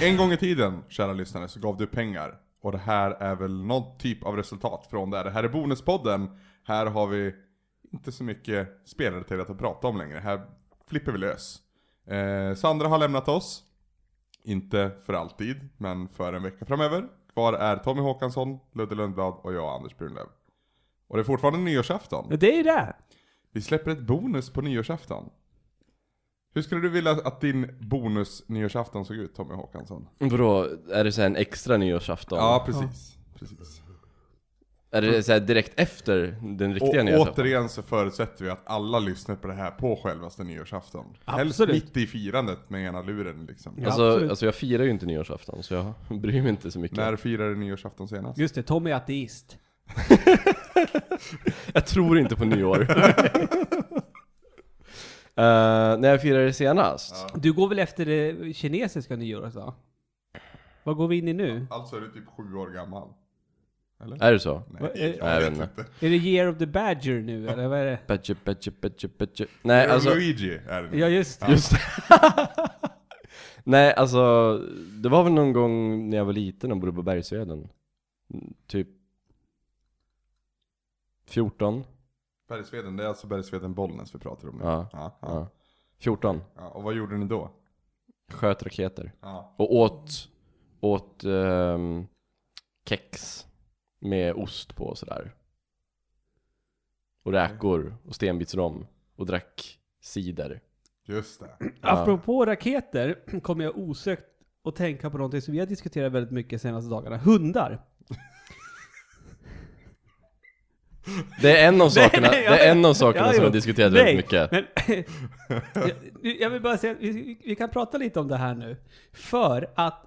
En gång i tiden, kära lyssnare, så gav du pengar. Och det här är väl någon typ av resultat från det. Det här är Bonuspodden. Här har vi inte så mycket spelrelaterat att prata om längre. Här flipper vi lös. Eh, Sandra har lämnat oss. Inte för alltid, men för en vecka framöver. Kvar är Tommy Håkansson, Ludde Lundblad och jag, Anders Brunlöv. Och det är fortfarande nyårsafton. Ja, Det är ju det. Vi släpper ett bonus på nyårsafton. Hur skulle du vilja att din bonus nyårsafton såg ut, Tommy Håkansson? Vadå, är det så här en extra nyårsafton? Ja, precis. precis. Är det så här direkt efter den Och riktiga nyårsafton? återigen så förutsätter vi att alla lyssnar på det här på självaste nyårsafton. Absolut. Helst mitt i firandet med ena luren liksom. Ja. Alltså, absolut. alltså jag firar ju inte nyårsafton så jag bryr mig inte så mycket När firade du nyårsafton senast? Just det, Tommy är ateist. Jag tror inte på nyår Eh, När jag firade senast? Du går väl efter det kinesiska nyåret va? Vad går vi in i nu? Alltså är du typ sju år gammal. Är det så? Nej, Va- är- jag Nej, jag vet vet inte. Är det year of the badger nu eller vad är det? Badge, badge, badge, badge. Nej alltså, Luigi är det. Ja just det. just Nej alltså, det var väl någon gång när jag var liten och bodde på Bergsöden Mm, Typ 14? Bergsveden, det är alltså Bergsveden Bollnäs vi pratar om nu. Ja. Ja, ja. Ja. 14 Ja, Och vad gjorde ni då? Sköt raketer Ja. Och åt, åt ehm, kex med ost på och sådär. Och räkor och stenbitsrom och drack cider. Just det. Apropå raketer kommer jag osökt att tänka på någonting som vi har diskuterat väldigt mycket senaste dagarna. Hundar. Det är en av sakerna, nej, det ja. är en av sakerna Ja, som jo. har diskuterats Nej, väldigt mycket. Men, jag, jag vill bara säga, att vi, vi kan prata lite om det här nu. För att,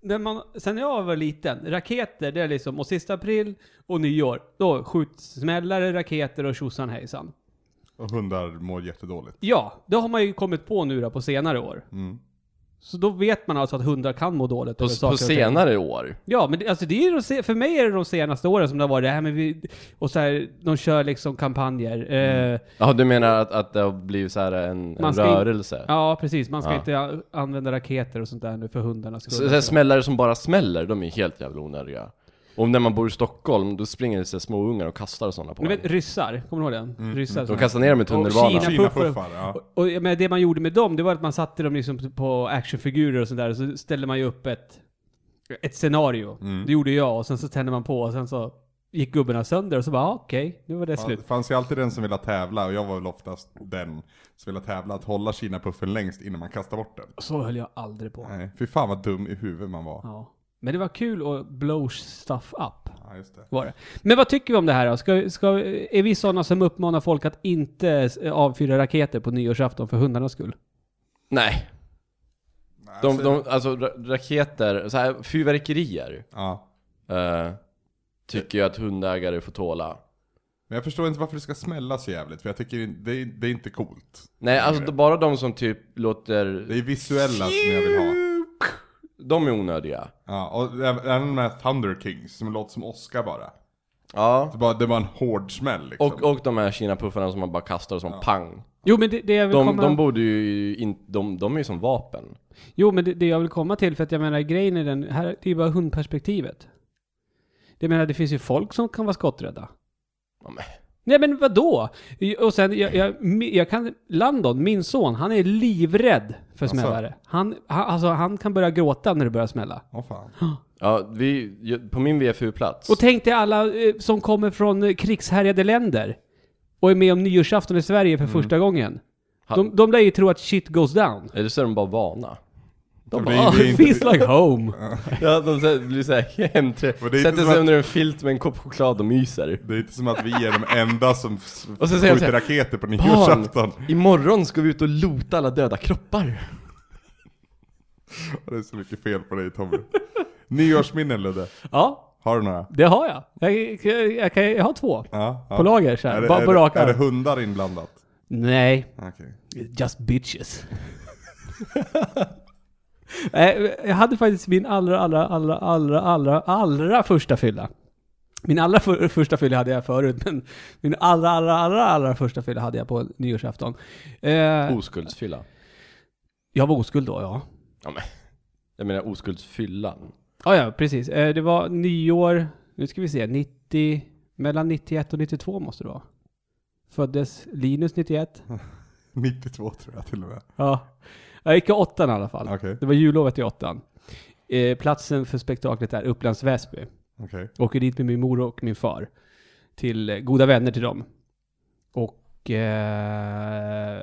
när man, sen jag var liten, raketer det är liksom, och sista april och nyår, då skjuts smällare, raketer och tjosan hejsan. Och hundar mår jättedåligt. Ja, det har man ju kommit på nu då på senare år. Mm. Så då vet man alltså att hundar kan må dåligt. På, över saker på och ting. senare år. Ja, men det, alltså det är ju de, se- för mig är det de senaste åren som det har varit det här med vi, och så här, de kör liksom kampanjer. Eh, Ja, du menar att, att det har blivit så här en, en Man ska in- rörelse? ja, precis. Man ska Typ. Ja. inte a- använda raketer och sånt där nu för hundarnas Så, så här smällare som bara smäller, de är helt jävla onödiga. Och när man bor i Stockholm, då springer det så här små ungar och kastar sådana på Men en. vet, ryssar, kommer du ihåg den? ryssar. Mm. De som- kastar ner dem i tunnelbanan. Kina- Kinapuffar, ja. och, och, men det man gjorde med dem, det var att man satte dem liksom på actionfigurer och sånt där, och så ställde man ju upp ett, ett scenario. Mm. Det gjorde jag, och sen så tände man på, och sen så gick gubbarna sönder, och så bara, ah, okej, nu var det slut. Det fanns ju alltid den som ville tävla, och jag var väl oftast den som ville tävla, att hålla kinapuffen längst innan man kastar bort den. Så höll jag aldrig på. Nej, fy fan vad dum i huvudet man var. Ja. Men det var kul att blow stuff up. Ja, just det. Var det. Men vad tycker vi om det här då? Ska, ska, är vi sådana som uppmanar folk att inte eh, avfyra raketer på nyårsafton för hundarnas skull? Nej, De, de, alltså ra- raketer, så här, fyrverkerier Ja. eh, Tycker jag att hundägare får tåla Men jag förstår inte varför det ska smälla så jävligt, för jag tycker in- det är, det är inte coolt. Nej alltså det är bara de som typ låter Det är visuella som jag vill ha. De är onödiga Ja, och ä- även de här Thunder Kings, som låter som Oscar bara. Ja Det var, det var en hård smäll liksom. och, och de här kinapuffarna som man bara kastar som pang Jo men det, det jag vill de, komma... de borde ju inte, de, de är ju som vapen Jo men det, det jag vill komma till, för att jag menar grejen är den, här, det är ju bara hundperspektivet. Jag menar det finns ju folk som kan vara skotträdda. Ja, men- Nej men vadå? Och sen, jag, jag, jag kan, Landon, min son, han är livrädd för Alltså. Asså? smällare. Han, han, alltså, han kan börja gråta när det börjar smälla. Åh fan. Ja, vi, ju- på min VFU-plats Och tänk dig alla eh, som kommer från eh, krigshärjade länder och är med om nyårsafton i Sverige Mm. för första gången. Ha- De, de lär ju tro att shit goes down. Eller så är de bara vana Det De bara, blir- "Ah, det är inte- feels like home. Ja, de så här, blir såhär hemtre Men det är inte Sätter som sig att- under en filt med en kopp choklad och myser Det är inte som att vi är de enda som s- Och så säger de så skjuter här, raketer på nyårsafton. Barn! Imorgon ska vi ut och lota alla döda kroppar Det är så mycket fel på dig Tommy. Nyårsminnen Ludde. Ja, Har du några? det har jag. Jag, jag, jag, kan- jag har två. Ja, ja. På lager så här, Är det, bara är på det- rak Är det arm. hundar inblandat? Nej, Okej. just bitches. Nej, jag hade faktiskt min allra, allra, allra, allra, allra, allra första fylla. Min allra för, första fylla hade jag förut, men min allra, allra, allra, allra första fylla hade jag på nyårsafton. Eh, Oskuldsfylla jag var oskuld då, ja. Ja men Jag menar oskuldsfyllan. Ja, ja, precis. Eh, Det var nyår, nu ska vi se, 90, mellan 91 och 92 måste det vara. Föddes Linus 91. 92 tror jag till och med. Ja. Jag gick i åttan i alla fall. Okej, Det var jullovet i åttan. Eh, platsen för spektaklet är Upplands Väsby. okej. Åker dit med min mor och min far. Till eh, goda vänner till dem. Och... Eh,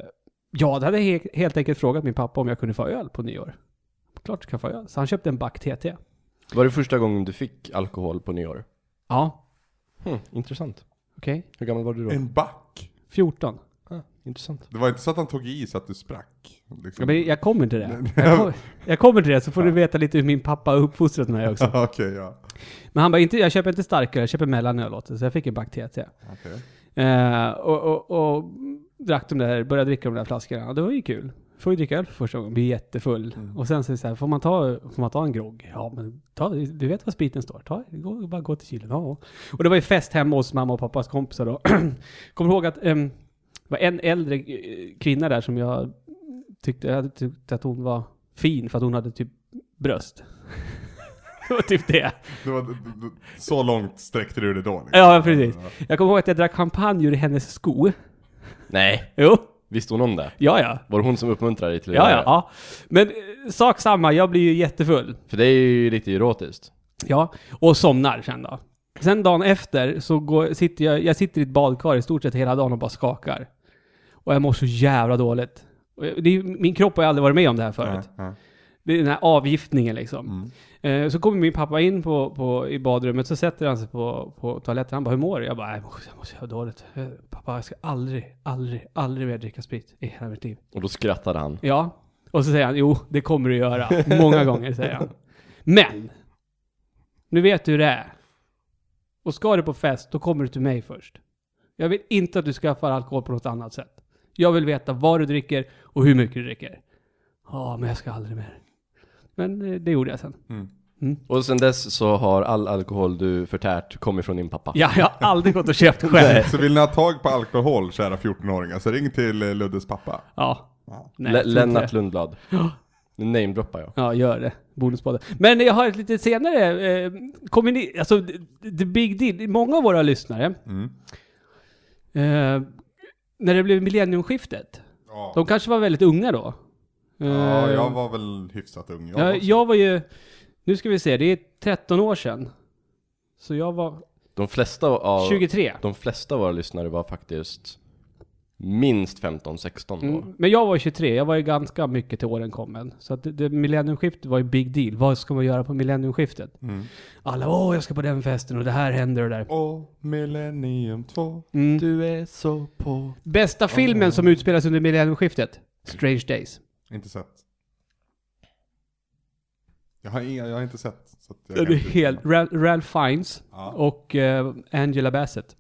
ja, det hade he- helt enkelt frågat min pappa om jag kunde få öl på nyår. Klart du kan få öl. Så han köpte en back TT. Var det första gången du fick alkohol på nyår? Ja, Hm, Hmm, intressant. okej. Hur gammal var du då? En back. 14. Ah, intressant. Det var inte så att han tog i så att du sprack. Liksom. Ja, men jag kommer till det. Jag, kom, jag kommer till det, så får du veta lite hur min pappa har uppfostrat mig också. Okej, ja. Men han bara, inte, jag köper inte starkare, jag köper mellanöl åt det. Så jag fick en back TT. Okej. Eh, och, och, och drack de där, började dricka de där flaskorna. Ja, det var ju kul. Får ju dricka öl för första gången, blir jättefull. Och sen så, är det så här, får man, ta, får man ta en grogg? Ja, men ta, du vet var spriten står. Ta, gå, bara gå till kylen. Ja. Och det var ju fest hemma hos mamma och pappas kompisar då. Kommer ihåg att ehm, det var en äldre eh, kvinna där som jag tyckte, jag hade tyckt att hon var fin för att hon hade typ bröst. det var typ det. Det var, det- det- så långt sträckte du det då? Liksom. Ja, precis. Jag kommer ihåg att jag drack champagne ur hennes sko. Nej, Jo, visste hon om det? ja, ja. Var det hon som uppmuntrade dig till att Ja, göra ja, det? ja. Men eh, sak samma, jag blir ju jättefull. För det är ju lite erotiskt. Ja, och somnar sen då. Sen dagen efter så går, sitter jag, jag sitter i ett badkar i stort sett hela dagen och bara skakar. Och jag mår så jävla dåligt. Och jag- Det är, ju- min kropp har ju aldrig varit med om det här förut. Ja, Det är den här avgiftningen liksom. Mm. Eh, så kommer min pappa in på, på, i badrummet, så sätter han sig på, på toaletten. Han bara, hur mår du? Jag bara, "Nej, jag mår jag mår så jävla dåligt. Eh, Pappa, jag ska aldrig, aldrig, aldrig mer dricka sprit i hela mitt liv. Och då skrattade han. Ja. Och så säger han, jo, det kommer du göra. Många gånger, säger han. Men! Nu vet du hur det är. Och ska du på fest, då kommer du till mig först. Jag vill inte att du skaffar alkohol på något annat sätt. Jag vill veta vad du dricker och hur mycket du dricker. Ja, men jag ska aldrig mer. Men eh, det gjorde jag sen. Och sen dess så har all alkohol du förtärt kommit från din pappa. Ja, jag har aldrig gått och köpt själv. ja. Så vill ni ha tag på alkohol, kära 14-åringar, så ring till eh, Luddes pappa. Ja. Nej, Le- jag tror inte Lennart det. Lundblad. Nu namedroppar jag. Ja, gör det. Bonuspodden. Men jag har ett lite senare, eh, kommer ni, alltså the- the big deal, många av våra lyssnare, Mm. eh, när det blev millenniumskiftet, Ja. de kanske var väldigt unga då. ja, Eh, jag var väl hyfsat ung jag jag, också. jag var ju, nu ska vi se, det är 13 år sedan. Så jag var De flesta av, 23. de flesta av våra lyssnare var faktiskt minst 15-16 då. Mm, Men jag var 23, jag var ju ganska mycket till åren kommen. Så att det, det millenniumskiftet var ju big deal. Vad ska man göra på millenniumskiftet? Mm. Alla, åh jag ska på den festen och det här händer och det där. Och Millennium 2. Mm. Du är så på. Bästa filmen som utspelas under millenniumskiftet? Strange Days. Inte sett. Jag har, inga, jag har inte sett. Så att jag Det är kan inte- helt, Ra- Ralph Fiennes Ja. och eh, Angela Bassett.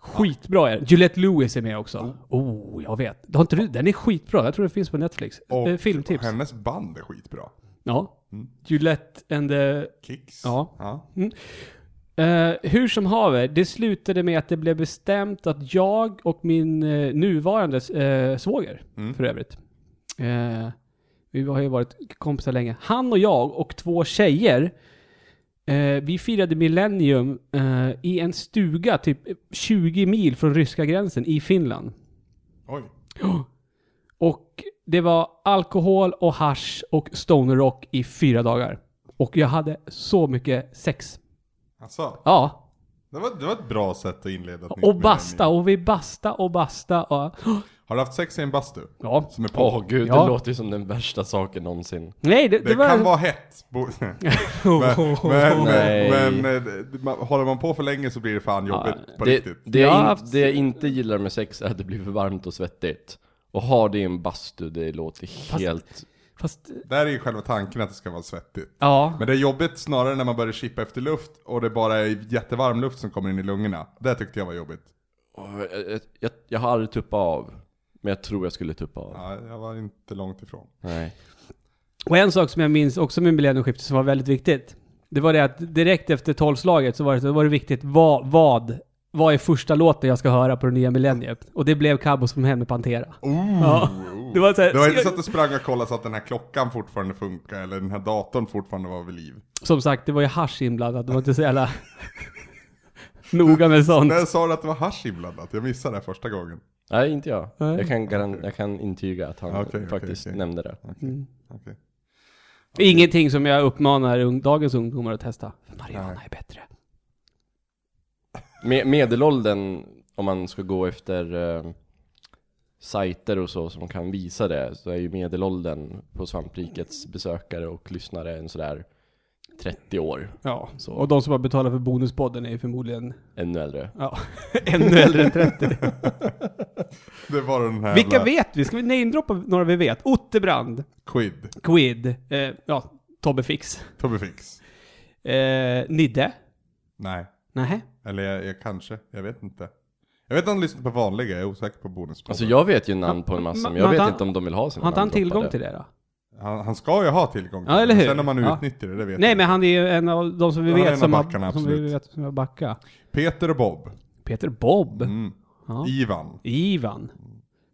Skitbra är den. Juliette Lewis är med också. Oh, jag vet. Har inte du? Den är skitbra. Jag tror den finns på Netflix. Och Eh, filmtips. hennes band är skitbra. Ja. Mm. Juliette and the... Kicks. Ja. ja. Eh, hur som haver, det slutade med att det blev bestämt att jag och min eh, nuvarande eh, svåger, Mm. för övrigt, eh, vi har ju varit kompisar länge, han och jag och två tjejer, eh, vi firade millennium eh, i en stuga typ 20 mil från ryska gränsen i Finland. Oj. Och det var alkohol och hasch och stoner rock i fyra dagar. Och jag hade så mycket sex. Alltså, Ja, det var, det var ett bra sätt att inleda ett nytt Och millennium. basta, och vi basta och basta och... Har du haft sex i en bastu? Ja. Som är på. Åh gud, Ja. det låter ju som den värsta saken någonsin. Nej, det, det, det var... kan vara hett. Bo- men men, Nej. men, eh, det- man- håller man på för länge så blir det fan jobbigt på Det, riktigt. det, Jag har jag in, haft- det jag inte gillar med sex är att det blir för varmt och svettigt. Och ha det i en bastu, det låter helt... Fast... Där är ju själva tanken att det ska vara svettigt. Ja. Men det är jobbigt snarare när man börjar chippa efter luft och det bara är jättevarm luft som kommer in i lungorna. Det tyckte jag var jobbigt. Åh, Jag, jag, jag, jag har aldrig tuppat av. Men jag tror jag skulle tuppa av. Ja, jag var inte långt ifrån. Nej. Och en sak som jag minns också med millennieskiftet som var väldigt viktigt. Det var det att direkt efter tolvslaget så var det, så var det viktigt vad, vad, vad är första låten jag ska höra på det nya millenniet? Och det blev Cabos from Hell med Pantera. Oh, Ja. oh. Det var, så här, Det var inte så att du sprang och kollade så att den här klockan fortfarande funkar eller den här datorn fortfarande var vid liv. Som sagt, det var ju hasch inblandat. Det var inte så jävla noga med sånt. När sa du att det var hasch inblandat? Jag missade det första gången. Nej, inte jag. Nej. Jag kan, garan- jag kan intyga att han Okej, okej, faktiskt okej. nämnde det. Mm. Okej. Ingenting som jag uppmanar ung- dagens ungdomar att testa. För Mariana Nej. är bättre. Me- medelåldern, om man ska gå efter eh, sajter och så som kan visa det, så är ju medelåldern på svamprikets besökare och lyssnare en sådär 30 år, Ja, Så. och de som har betalat för bonuspodden är ju förmodligen ännu äldre. ja, ännu äldre än 30. Det var den här Vilka jävla vet vi? Ska vi namedroppa några vi vet? Otterbrand, Quid, Quid, eh, ja, Tobbe Fix, Tobbe Fix. eh, Nidde, Nej. nähä? Eller jag, jag kanske, jag vet inte. Jag vet att han lyssnar på vanliga, jag är osäker på bonuspodden. Alltså jag vet ju namn på en massa, men Men jag vet han- inte om de vill ha sina Har inte han namn tillgång droppade. till det då? han, han ska ju ha tillgång till Ja, det, eller men hur? Sen om han Ja. utnyttjar det, det vet Nej, jag men inte. han är ju en av de som vi Han är en vet av som, backarna, har, som vi absolut. vet som har backa. Peter och Bob. Peter Bob, Mm. Ja. Ivan. Ivan.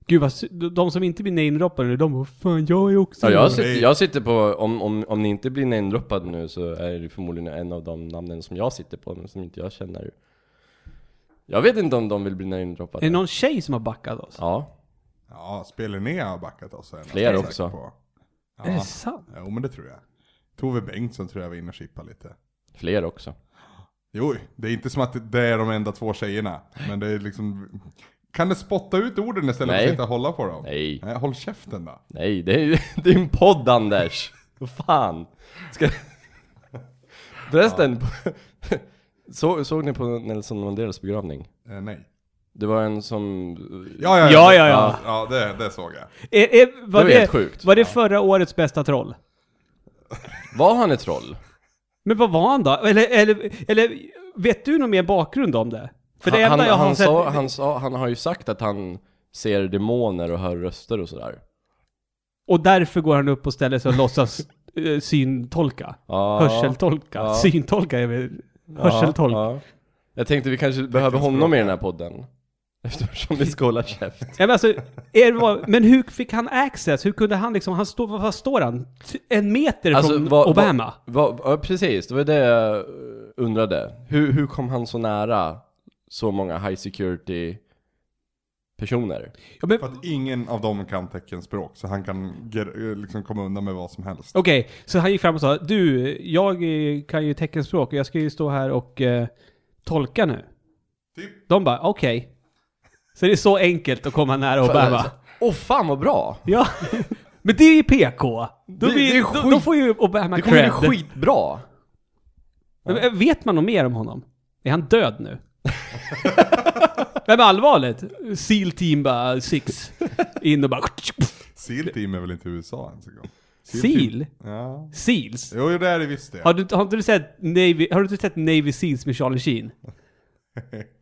Gud vad, sy- de som inte blir namedroppade nu, de bara, fan jag är också Ja, med." jag, sitter, jag sitter på, om, om, om ni inte blir namedroppade nu så är det förmodligen en av de namnen som jag sitter på, men som inte jag känner. Jag vet inte om de vill bli Är det namedroppade. någon tjej som har backat oss? Ja, Ja, Spelinea har backat oss. är jag Fler nästan också. säker på. Är det Ja. sant? Jo men det tror jag. Tove Bengtsson tror jag var inne och chippade lite. fler också. Jo, det är inte som att det är de enda två tjejerna. Men det är liksom... Kan du spotta ut orden istället för Nej. att sitta och hålla på dem? Nej. Nej håll käften då. Nej, det är ju det är en podd Anders! Vad fan! Ska... Förresten, så, såg ni på Nelson Mandelas begravning? Eh, nej. Det var en som... Ja, ja, Ja, ja. ja, ja. ja det, det såg jag. Är, är, var Det var det, helt sjukt. var det förra årets bästa troll? Var han ett troll? Men vad var han då? Eller, eller, eller vet du någon mer bakgrund om det? För det han, enda jag har han, sett... sa, han, sa, han har ju sagt att han ser demoner och hör röster och sådär. Och därför går han upp och ställer sig och låtsas eh, syntolka. Ja, Hörseltolka. Ja. Syntolka är väl... ja, Hörseltolk. ja. Jag tänkte vi kanske behöver honom i den här podden. Eftersom vi ska hålla käft. Ja, men, alltså, är det var, men hur fick han access? Hur kunde han liksom... Han står... Var vad står han? Ty- En meter Alltså, från vad- Obama? Vad, ja, precis, det var det jag eh, undrade. Hur, hur kom han så nära så många high security personer? ja, men, För att ingen av dem kan teckenspråk, så han kan ger- eh, liksom komma undan med vad som helst. Okej, så han gick fram och sa Du, jag eh, kan ju teckenspråk och jag ska ju stå här och eh, tolka nu. Typ. De bara, okej. Så det är så enkelt att komma nära Obama. Åh fan vad bra! Ja. Men det är ju PK. Då, Det- det blir, är då, skit. då får ju Obama Det kommer bli cred. skitbra! Men Vet man något mer om honom? Är han död nu? Nej men allvarligt. Seal team bara six. In och bara... Seal Team är väl inte i USA ens en gång? Team- Seal? Ja. Seals? Jo, det är det visst det. Har du, har, inte du sett Navy, har du inte sett Navy Seals med Charlie Sheen?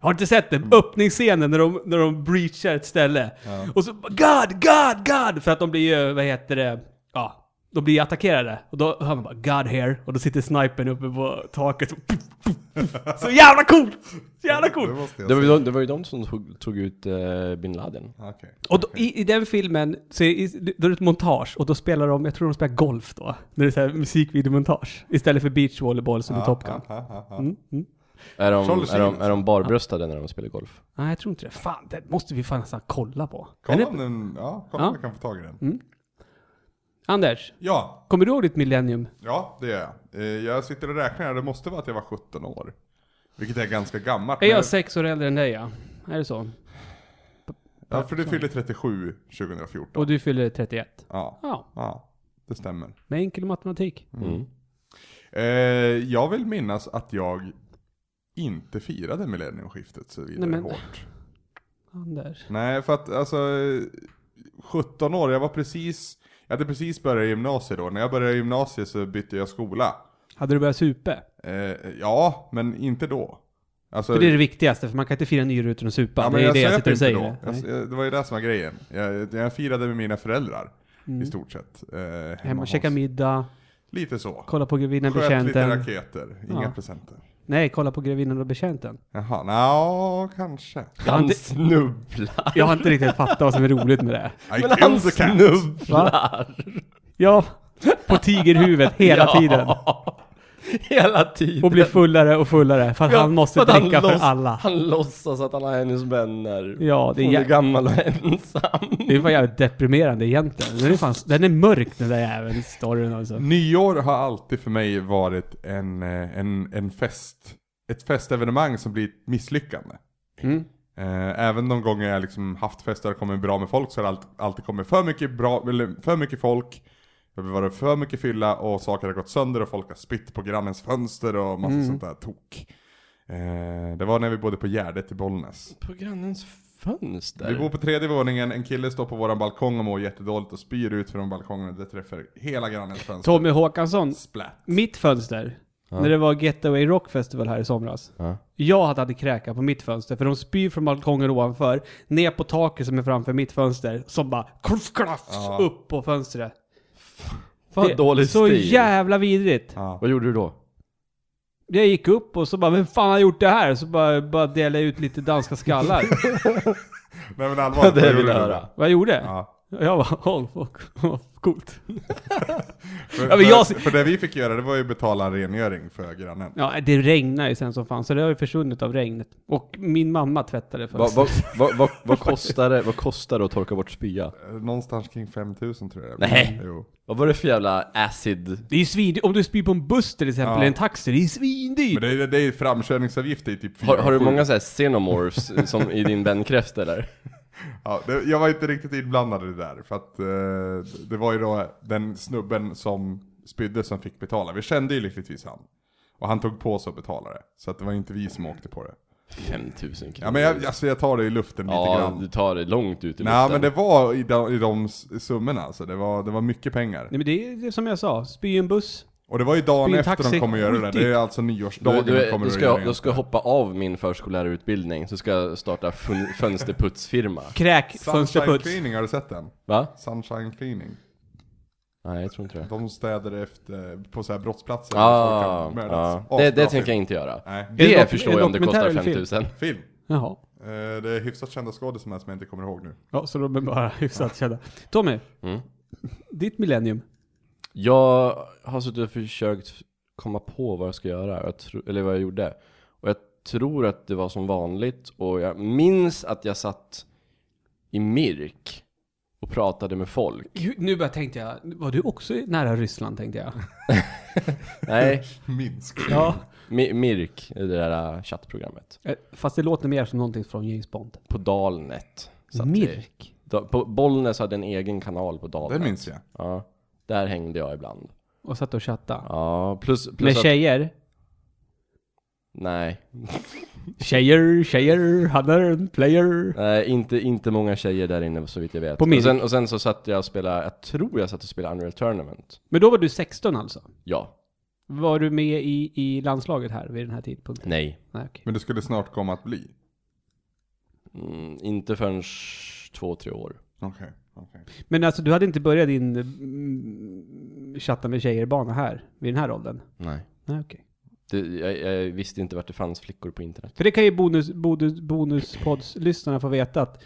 Har du inte sett den? Mm. Öppningsscenen när de, när de breachar ett ställe. Och så bara, God, God, God! För att de blir ju, vad heter det, ja, de blir attackerade. Och då hör man bara God here. Och då sitter snipern uppe på taket. Så, puff, puff, puff. så jävla coolt! Så jävla Det coolt! måste jag Det var, säga. ju de, det var ju de som tog, tog ut eh, bin Laden. Okej. Och då, i, i den filmen, så är, i- då är det ett montage och då spelar de, jag tror de spelar golf då. När det är så här musikvideomontage. Istället för beachvolleyboll som i Top Gun. Mm. Ja, ja, ja. Är de, Charlie är de, Sheen. är de barbröstade när de spelar golf? Nej, jag tror inte det. Fan, det måste vi fan nästan kolla på. Kolla Eller, om den, ja, kolla Ja. om jag kan få tag i den. Anders, Ja, kommer du ihåg ditt millennium? ja det gör jag. Eh, Jag sitter och räknar här, det måste vara att jag var 17 år. Vilket är ganska gammalt. Är men- jag sex år äldre än dig ja? Är det så? Ja, för du fyllde 37 2014. Och du fyller 31? Ja, Ja, ja, det stämmer. med enkel matematik. Mm. Eh, jag vill minnas att jag inte firade millenniumskiftet så vidare Nej, men- hårt. Anders. Nej, för att alltså eh, 17 år, jag var precis, jag hade precis börjat gymnasiet då. När jag började gymnasiet så bytte jag skola. Hade du börjat supa? Eh, ja, men inte då. Alltså, För det är det viktigaste, för man kan inte fira nyår utan att supa. ja, men det är det jag söp sitter och inte säger. då. Nej. Jag, eh, det var ju det som var grejen. Jag, jag firade med mina föräldrar, i stort sett. Eh, Hemma Mm. och hos- käka middag, Lite så. kolla på Vinna Sköt lite Betjänten. raketer, inga Ja. presenter. Nej, kolla på Grevinnan och betjänten. Jaha, nja, kanske. Han det- snubblar. Jag har inte riktigt fattat vad som är roligt med det. I Men killed han alltså, the cat. snubblar. Ja, på tigerhuvudet hela tiden. Hela tiden. Och blir fullare och fullare för att Ja, han måste att han dricka för låts- alla. Han låtsas att han har hennes vänner. Ja, det är Hon är jä- gammal och ensam. Det var jävligt deprimerande egentligen. Den är, fan, den är mörk den där jäveln, storyn alltså. Nyår har alltid för mig varit en, eh, en, en fest. Ett festevenemang som blir ett misslyckande. Mm. Eh, även de gånger jag liksom haft fester och kommit bra med folk så har det allt- alltid kommit för mycket, bra, eller för mycket folk. Det har varit för mycket fylla och saker har gått sönder och folk har spytt på grannens fönster och massa sånt där tok. Eh, det var när vi bodde på Gärdet i Bollnäs. På grannens fönster? Vi bor på tredje våningen, en kille står på våran balkong och mår jättedåligt och spyr ut från balkongen. Det träffar hela grannens fönster. Tommy Håkansson, Splat. mitt fönster, när det var Getaway Rock Festival här i somras. Ja. Jag hade hade kräka på mitt fönster, för de spyr från balkongen ovanför, ner på taket som är framför mitt fönster, som bara kruff, kruff, Ja. upp på fönstret. Vad Det- dålig Så stil. jävla vidrigt. Ja. Vad gjorde du då? Jag gick upp och så bara, vem fan har gjort det här? Så bara, bara delade jag ut lite danska skallar. Nej men allvarligt, det vad vill gjorde jag du höra. då? Vad jag gjorde? Ja. Jag bara, oh, fuck, vad coolt. För, men jag- för, för det vi fick göra det var ju betala en rengöring för grannen. Ja, det regnar ju sen som fan, så det har ju försvunnit av regnet. Och min mamma tvättade Vad först. vad- vad- vad kostar det- vad kostar det att torka bort spya? Eh, Någonstans kring 5000 tror jag. Nej. Jo. Vad var det för jävla acid? Det är ju svindyrt. Om du spyr på en buss till exempel, Ja. eller en taxi, det är ju svindyrt. Men det är, det är framkörningsavgift i typ fyra Har, har du sju. många såhär xenomorphs som i din vänkräft eller? Ja, det, jag var inte riktigt inblandad i det där. För att eh, det var ju då den snubben som spydde som fick betala. Vi kände ju lyckligtvis han. Och han tog på sig att betala det. Så att det var inte vi som åkte på det. 5000 kronor. Ja men jag, alltså jag tar det i luften Ja, lite grann. du tar det långt ut i Nej luften. men det var i de, i de s- summorna alltså. Det var, det var mycket pengar. Nej men det är det som jag sa, spy i en buss. Och det var ju dagen Det är en efter taxi. de kommer göra det där. Det är alltså Då, nyårsdagen då, de är- kommer då, att ska göra jag, det. då ska jag hoppa av min förskollärarutbildning, så ska jag starta fun, fönsterputsfirma. Kräk, Sunshine fönsterputs. Cleaning, har du sett den? Va? Sunshine Cleaning. Nej, jag tror inte det. De städar efter, på så här brottsplatser. där folk Ah, har mördats. ah. Det, det Asbra tänker jag film. inte göra. Nej. Det Är det dock- förstår är det jag om det dokumentär kostar eller film? 5000. Film. Jaha. Eh, det är hyfsat kända skådisar som jag inte kommer ihåg nu. Ja, så de är bara hyfsat kända. Tommy. Mm. Ditt millennium. Jag har suttit och försökt komma på vad jag ska göra, jag tro, eller vad jag gjorde. Och jag tror att det var som vanligt, och jag minns att jag satt i Mirk och pratade med folk. Gud, Nu bara tänkte jag, var du också nära Ryssland tänkte jag? Nej, Minsk. Ja. Mi- Mirk, det där äh, chattprogrammet. Eh, Fast det låter mer som någonting från James Bond. På Dalnet. satt vi. Mirk. Da- På Bollnäs hade en egen kanal på Det Dalnet. minns jag. Ja, där hängde jag ibland. Och satt och chattade. Ja, plus, plus Med att- tjejer. Nej. Tjejer, tjejer, han är en player. Nej, inte, inte många tjejer där inne så vitt jag vet. På och, Mirk. sen, och sen så satt jag och spelade, jag tror jag satt och spelade Unreal Tournament. Men då var du 16 alltså? Ja. Var du med i, i landslaget här vid den här tidpunkten? Nej. Nej, okej. Men det skulle snart komma att bli. Mm, inte förrän två, tre år. Okej. okej. Men alltså du hade inte börjat din mm, chatta med tjejer-bana här, vid den här åldern? Nej. Nej, okej. Det, jag, jag visste inte vart det fanns flickor på internet. För det kan ju bonus, bonus, bonuspoddslyssnarna få veta att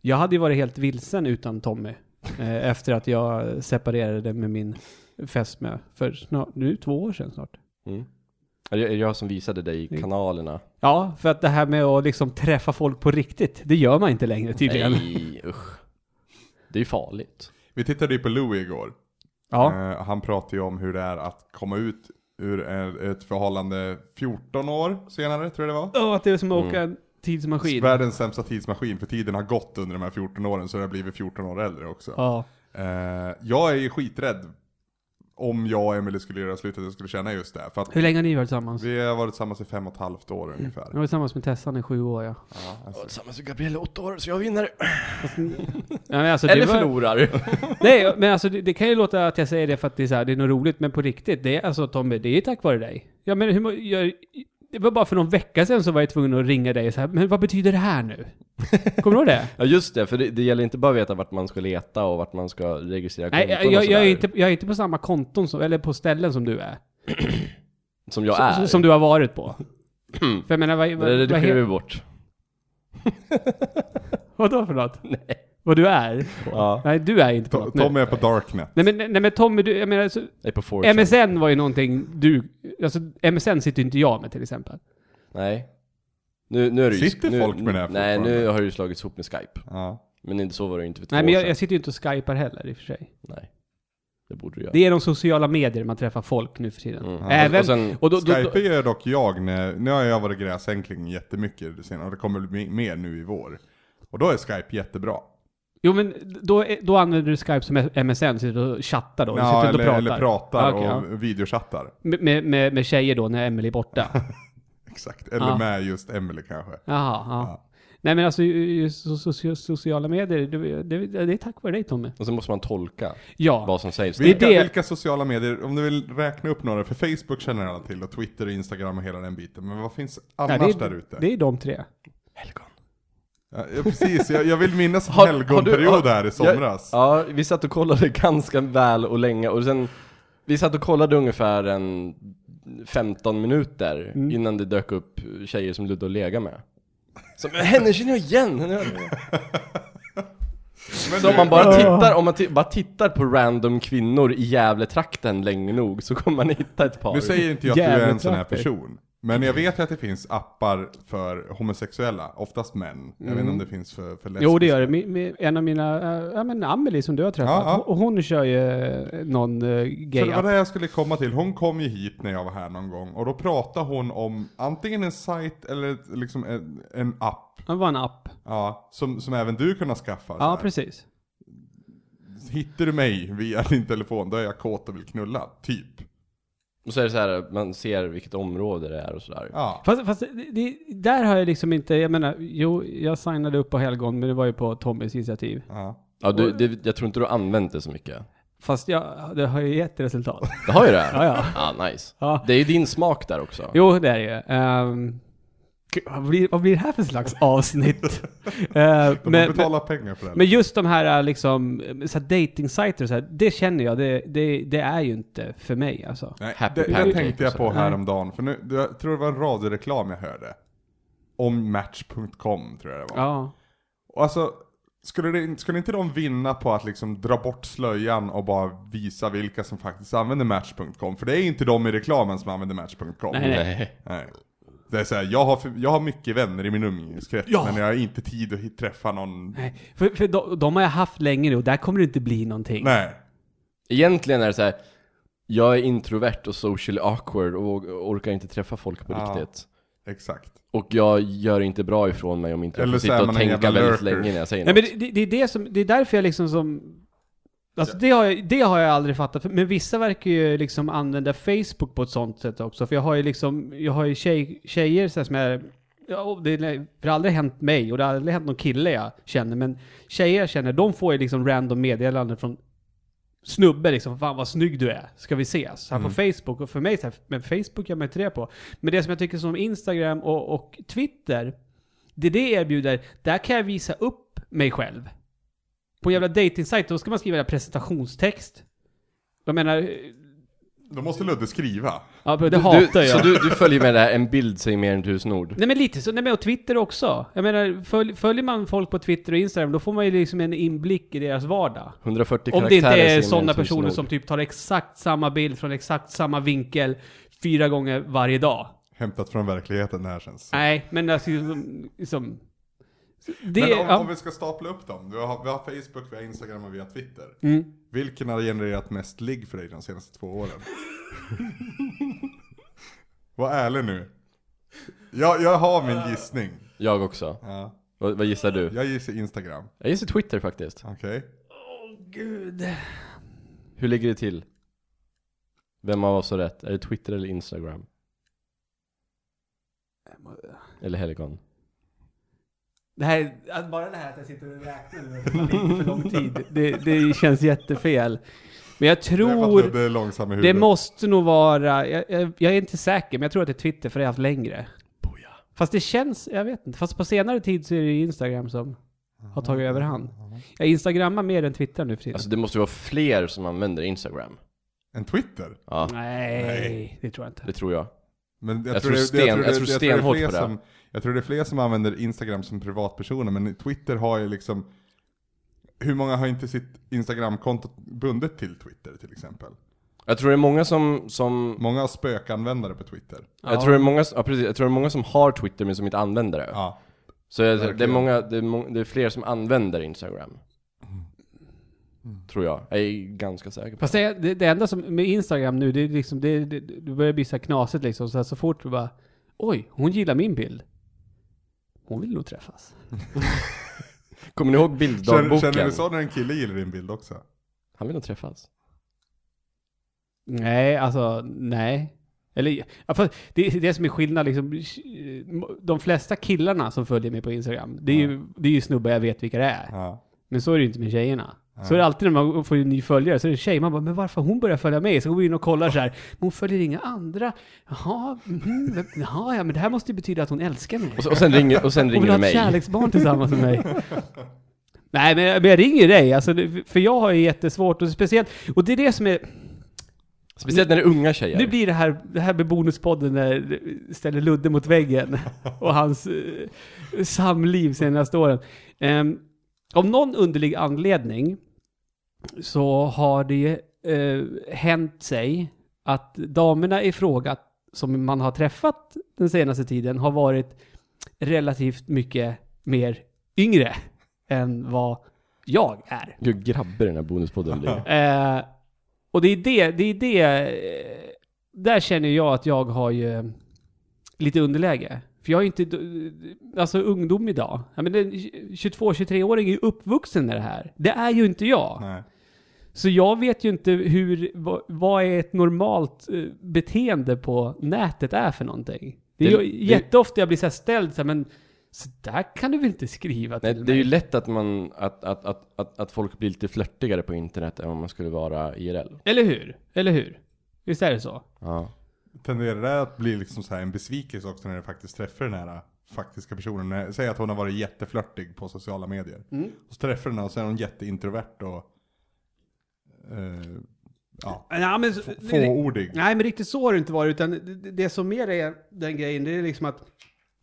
jag hade ju varit helt vilsen utan Tommy. Eh, efter att jag separerade med min fästmö för snart, nu två år sedan snart. Mm. Är det är det jag som visade dig kanalerna? Ja, för att det här med att liksom träffa folk på riktigt, det gör man inte längre tydligen. Nej, usch. Det är ju farligt. Vi tittade ju på Louis igår. Ja, Eh, han pratade ju om hur det är att komma ut ur eh, ett förhållande 14 år senare, tror jag det var. Åh, att det är som att Mm. åka en tidsmaskin. Världens sämsta tidsmaskin, för tiden har gått under de här 14 åren så det har blivit 14 år äldre också. Ja. Eh, jag är ju skiträdd om jag och Emily skulle göra slut, att jag skulle känna just det. För att Hur länge har ni varit tillsammans? vi har varit tillsammans i fem och ett halvt år ungefär. Jag var tillsammans med Tessan i sju år ja. Ja, alltså. Tillsammans med Gabriella åtta år, så jag vinner. ja men alltså, det Eller var- förlorar. Nej, men alltså det, det kan ju låta att jag säger det för att det är, så här, det är något roligt, men på riktigt, det är alltså Tommy, det är tack vare dig. Ja, men hur, må- jag, det var bara för någon vecka sedan så var jag tvungen att ringa dig och så här, men vad betyder det här nu? Kommer du ihåg det? Ja just det, för det, det gäller inte bara att veta vart man ska leta och vart man ska registrera Nej, jag, konton jag, och sådär, jag, är inte, jag är inte på samma konton som, eller på ställen som du är. Som jag Som- är. Som du har varit på. För jag menar, vad, Det där vad, vad, redigerar vi he- bort. vadå för något? Nej. Vad du är? Ja. Nej, du är inte på To- något nu. Tommy är på Darknet. Nej men, nej men Tommy, du, jag menar, så, Nej, på 4 MSN var ju någonting du, alltså MSN sitter ju inte jag med till exempel. Nej. Nu, nu är det ju... Sitter nu, folk med det här Nej, nu fortfarande? har det ju slagits ihop med Skype. Ja. Men inte så var det ju inte för två Nej men år jag, sedan. jag sitter ju inte och skypar heller i och för sig. Nej. Det borde du göra. Det är genom sociala medier man träffar folk nu för tiden. Mm. Även, Och sen, och då, då, då, Skype gör dock jag när, nu har jag varit gräsänkling jättemycket det senare, och det kommer bli mer nu i vår. Och då är Skype jättebra. jo men då, då använder du Skype som MSN, sitter och chattar då? Ja, eller, sitter och pratar. eller pratar Ja, okej, och videochattar. ja. med, med, med tjejer då när Emily är borta? Exakt. Eller Ja. med just Emily kanske. Jaha, ja. Ja. Nej men alltså ju- ju- so, so, so, sociala medier, det, det, det är tack vare dig Tommy. och sen måste man tolka Ja. vad som sägs. Vi- där. Vilka, det. vilka sociala medier, om du vill räkna upp några, för Facebook känner alla till och Twitter och Instagram och hela den biten. Men vad finns annars Nej, det, där är- ute? det är de tre. Helgon. Ja, ja, precis, jag, jag vill minnas en Har- har du- helgonperiod har- här i somras. Ja, vi satt och kollade ganska väl och länge och sen vi satt och kollade ungefär en 15 minuter Mm. innan det dök upp tjejer som Ludde och lega med. Som, "Men henne känner jag igen! Henne känner jag igen." Men Så om du, man bara men du- tittar, om man ti- bara tittar på random kvinnor i Gävletrakten länge nog så kommer man hitta ett par. Nu säger inte jag att du är en Jävligt sån här vacker. person. Men jag vet ju att det finns appar för homosexuella, oftast män. Jag vet inte om det finns för, för lesbiska. Mm. Jo, det gör det. Mi- mi- En av mina, eh, ja men Amelie som du har träffat, Ja, ja. Hon, hon kör ju eh, någon eh, För det gay var app. det jag skulle komma till. Hon kom ju hit när jag var här någon gång och då pratade hon om antingen en sajt eller ett- liksom en, en app. Det var en app. Ja, som, som även du kunde skaffa. så Ja, här. precis. Hittar du mig via din telefon, då är jag kåt och vill knulla. Typ. Och så är det så här, man ser vilket område det är och sådär. Ja. Fast, fast det, det, där har jag liksom inte, jag menar, jo, jag signade upp på Helgon, men det var ju på Tommys initiativ. ja. Ja, du, det, jag tror inte du har använt det så mycket. Fast jag, det har ju gett resultat. Det har ju det? Ja, ja. Ah, nice. Ja. Det är ju din smak där också. Jo, det är det ju. Ehm, gud, vad, blir, vad blir det här för slags avsnitt? Eh, De men- betalar pengar för det. Men just de här eh, liksom, eh, så här dating-sajter och så här, det känner jag, det, det, det är ju inte för mig alltså. Nej, Happy det, det Pancake Mm. tänkte jag och på sådär. häromdagen, för nu, jag tror det var en radioreklam jag hörde. Om Match.com tror jag det var. Ja. Och alltså, skulle, det, skulle inte de vinna på att liksom dra bort slöjan och bara visa vilka som faktiskt använder Match.com? För det är ju inte de i reklamen som använder Match.com. Nej, nej. Nej. Det är så här, jag, har för, jag har mycket vänner i min umgängeskrets, Ja. men jag har inte tid att hit- träffa någon. Nej. Nej, för, för de, de har jag haft länge nu och där kommer det inte bli någonting. Egentligen är det så här. jag är introvert och socially awkward och våg- orkar inte träffa folk på Ja. riktigt. exakt. Och jag gör inte bra ifrån mig om inte jag Eller får så är sitta man och en tänka jävla väldigt lurker. länge när jag säger Nej, något. men det, det, det, är det, som, det är därför jag liksom som... Alltså det har, jag, det har jag aldrig fattat, För- men vissa verkar ju liksom använda Facebook på ett sånt sätt också. För jag har ju liksom, jag har ju tjej, tjejer så här som är, ja, och det, för det har aldrig hänt mig och det har aldrig hänt någon kille jag känner. Men tjejer jag känner, de får ju liksom random meddelanden från snubbe liksom, fan vad snygg du är, ska vi ses? Så här på Mm. Facebook, och för mig så här, men Facebook gör man inte det på. Men det som jag tycker som Instagram och, och Twitter, det det erbjuder, där kan jag visa upp mig själv. På en jävla dejtingsajt, då ska man skriva en presentationstext. Jag menar, eh, Då måste Ludde skriva. ja, det Du- hatar du, jag. Så du, du följer med det här, en bild säger mer än tusen ord. Nej men lite så, nej men och Twitter också. Jag menar, följ, följer man folk på Twitter och Instagram, då får man ju liksom en inblick i deras vardag. 140 Om det karaktärer inte säger mer är än sådana tusen personer ord. som typ tar exakt samma bild från exakt samma vinkel fyra gånger varje dag. Hämtat från verkligheten, det här känns. Nej, men alltså liksom... liksom det, Men om, ja. om vi ska stapla upp dem, vi har, vi har Facebook, vi har Instagram och vi har Twitter. Mm. Vilken har genererat mest ligg för dig de senaste två åren? Var ärlig nu. Jag, jag har min gissning. Jag också. Ja. Vad, vad gissar du? Jag gissar Instagram. Jag gissar Twitter faktiskt. Okej. Gud. Hur ligger det till? Vem av oss har rätt? Är det Twitter eller Instagram? Eller Helgon? Det här, att bara det här att jag sitter och räknar nu för lång tid, det, det känns jättefel. Men jag Det är för att tror, Ludde är långsam i det huvudet. måste nog vara, jag, jag, jag är inte säker, men jag tror att det är Twitter för det har jag haft längre. Boja. Fast det känns, jag vet inte, fast på senare tid så är det ju Instagram som har tagit överhand. Jag instagrammar mer än Twitter nu för tiden. Mm. Alltså det måste ju vara fler som använder Instagram. En Twitter? Ja, nej, nej. det tror jag inte. det tror jag. Men jag, Jag tror, tror det, sten- jag, tror det, jag tror jag tror det är stenhårt fler på det. som, Jag tror det är fler som använder Instagram som privatpersoner, men Twitter har ju liksom Hur många har inte sitt Instagramkonto bundet till Twitter till exempel? Jag tror det är många som, som Många har spökanvändare på Twitter. jag, tror det är många, ja, precis, jag tror det är många som har Twitter men som inte använder det. Ja. Så jag, det, är verkligen. många, det, är må, det är fler som använder Instagram. Mm. Tror jag. Jag är ganska säker på Fast det, det, det enda som, med Instagram nu, det är liksom, det, det, det börjar bli så här knasigt liksom. Så, här, så fort du bara, oj, hon gillar min bild. Hon vill nog träffas. Kommer ni ihåg Känner, bilddagboken? känner du så när en kille gillar din bild också? Han vill nog träffas. Nej, alltså nej. Eller, ja, fast det är det som är skillnaden liksom. De flesta killarna som följer mig på Instagram, det är, ju, det är ju snubbar jag vet vilka det är. Ja. Men så är det ju inte med tjejerna. Så är det alltid när man får en ny följare, så är det en tjej, man bara, men varför har hon börjar följa mig? Så går vi in och kollar så här, men hon följer inga andra. Jaha, mhm, men- jaha ja, men det här måste ju betyda att hon älskar mig. Och, så- och sen ringer, och sen Hon vill ringer ha du ett mig. kärleksbarn tillsammans med mig. Nej, men jag, men jag ringer dig, alltså, det- för jag har ju jättesvårt, och speciellt, och det är det som är, Speciellt när det är unga tjejer. nu blir det här, det här med bonuspodden när du ställer Ludde mot väggen och hans eh, samliv senaste åren. Ehm, av någon underlig anledning så har det eh, hänt sig att damerna i fråga som man har träffat den senaste tiden har varit relativt mycket mer yngre än vad jag är. Gud, grabbar i den här bonuspodden blir. Eh, och det är det, det är det, eh, där känner jag att jag har ju eh, lite underläge. För jag är inte, alltså ungdom idag. Ja, men den 22-23-åring är ju uppvuxen med det här. Det är ju inte jag. Nej. Så jag vet ju inte hur, vad, vad är ett normalt eh, beteende på nätet är för någonting. Det är Det- ju det- jätteofta jag blir så här ställd så här, men så där kan du väl inte skriva till Nej, mig? det är ju lätt att, man, att, att, att, att, att folk blir lite flörtigare på internet än om man skulle vara IRL. Eller hur? Eller hur? Visst är det så? Ja. Tenderar det att bli liksom så här en besvikelse också när du faktiskt träffar den här äh, faktiska personen? När- Säg att hon har varit jätteflörtig på sociala medier. Mm. Och så träffar du henne och så är hon jätteintrovert och eh, ja, Ja, men, f- fåordig. Nej, men riktigt så har det inte varit. Utan det- det, det som mer är den grejen, det är liksom att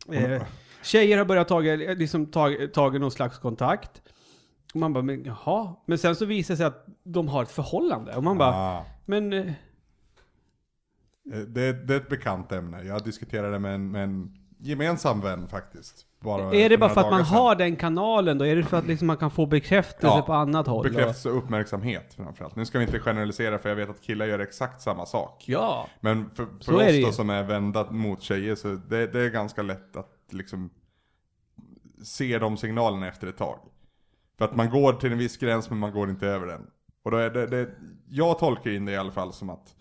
Mm. eh, tjejer har börjat ta liksom, tag, tagit någon slags kontakt. Och man bara, men jaha. Men sen så visar det sig att de har ett förhållande. Och man bara, Ah, men... eh, eh, det, det är ett bekant ämne. Jag diskuterade det med en, med en gemensam vän faktiskt. Bara Är för det bara några för att man dagar sedan. har den kanalen då? Är det för att liksom man kan få bekräftelse Ja. på annat håll? Bekräftelse och uppmärksamhet framförallt. Nu ska vi inte generalisera för jag vet att killar gör exakt samma sak. Ja. Men för, Så för är det oss ju. då som är vända mot tjejer så det, det är ganska lätt att liksom se de signalerna efter ett tag. För att man går till en viss gräns men man går inte över den. Och då är det, det, jag tolkar in det i alla fall som att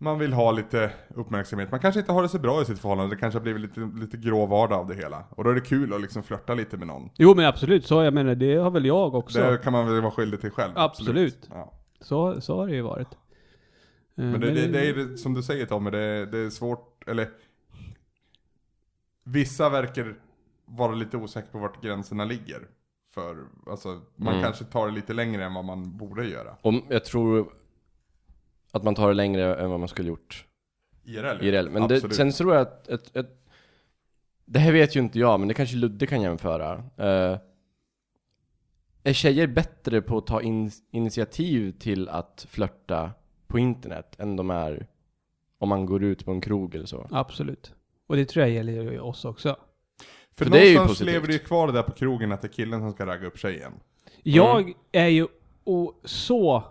man vill ha lite uppmärksamhet. Man kanske inte har det så bra i sitt förhållande, det kanske har blivit lite, lite grå vardag av det hela. Och då är det kul att liksom flörta lite med någon. Jo, men absolut. Så jag menar, det har väl jag också. Det kan man väl vara skyldig till själv. Absolut. Ja. Så, så har det ju varit. Eh, Men det, det, det är det- som du säger Tommy, det, det är svårt, eller Vissa verkar vara lite osäkra på vart gränserna ligger. För, alltså, man Mm. kanske tar det lite längre än vad man borde göra. Och jag tror att man tar det längre än vad man skulle gjort IRL. IRL. Men det, Absolut. sen tror jag att, att, att... Det här vet ju inte jag, men det kanske Ludde kan jämföra. Eh, är tjejer bättre på att ta in, initiativ till att flörta på internet än de är om man går ut på en krog eller så? Absolut. Och det tror jag gäller ju oss också. För, för det är ju någonstans positivt. lever det ju kvar det där på krogen att det är killen som ska ragga upp tjejen. Mm. Jag är ju o- så...